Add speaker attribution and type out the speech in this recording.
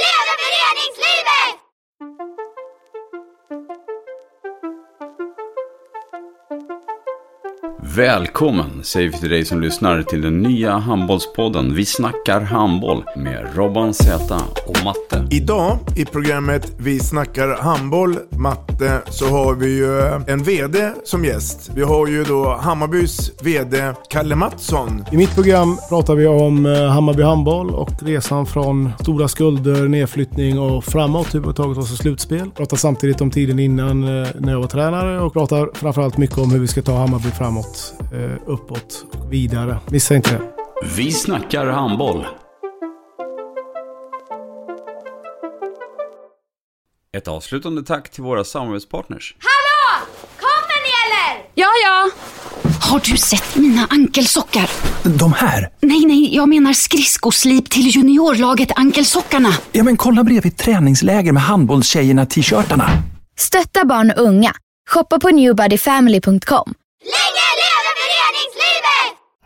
Speaker 1: leve föreningslivet!
Speaker 2: Välkommen säger vi till dig som lyssnar till den nya handbollspodden Vi snackar handboll med Robban Z och Matte.
Speaker 3: Idag i programmet Vi snackar handboll, matte, så har vi ju eh, en VD som gäst. Vi har ju då Hammarbys VD Kalle Mattsson.
Speaker 4: I mitt program pratar vi om eh, Hammarby handboll och resan från stora skulder, nedflyttning och framåt, hur vi har tagit oss till slutspel. Pratar samtidigt om tiden innan eh, när jag var tränare och pratar framförallt mycket om hur vi ska ta Hammarby framåt, eh, uppåt och vidare. Missa inte det.
Speaker 2: Vi snackar handboll. Ett avslutande tack till våra samarbetspartners.
Speaker 1: Hallå! Kommer ni eller?
Speaker 5: Ja, ja. Har du sett mina ankelsockar?
Speaker 6: De här?
Speaker 5: Nej, nej, jag menar skridskoslip till juniorlaget Ankelsockarna.
Speaker 6: Ja, men kolla bredvid träningsläger med handbollstjejerna-t-shirtarna.
Speaker 7: Stötta barn och unga. Shoppa på newbodyfamily.com.
Speaker 1: Länge leve föreningslivet!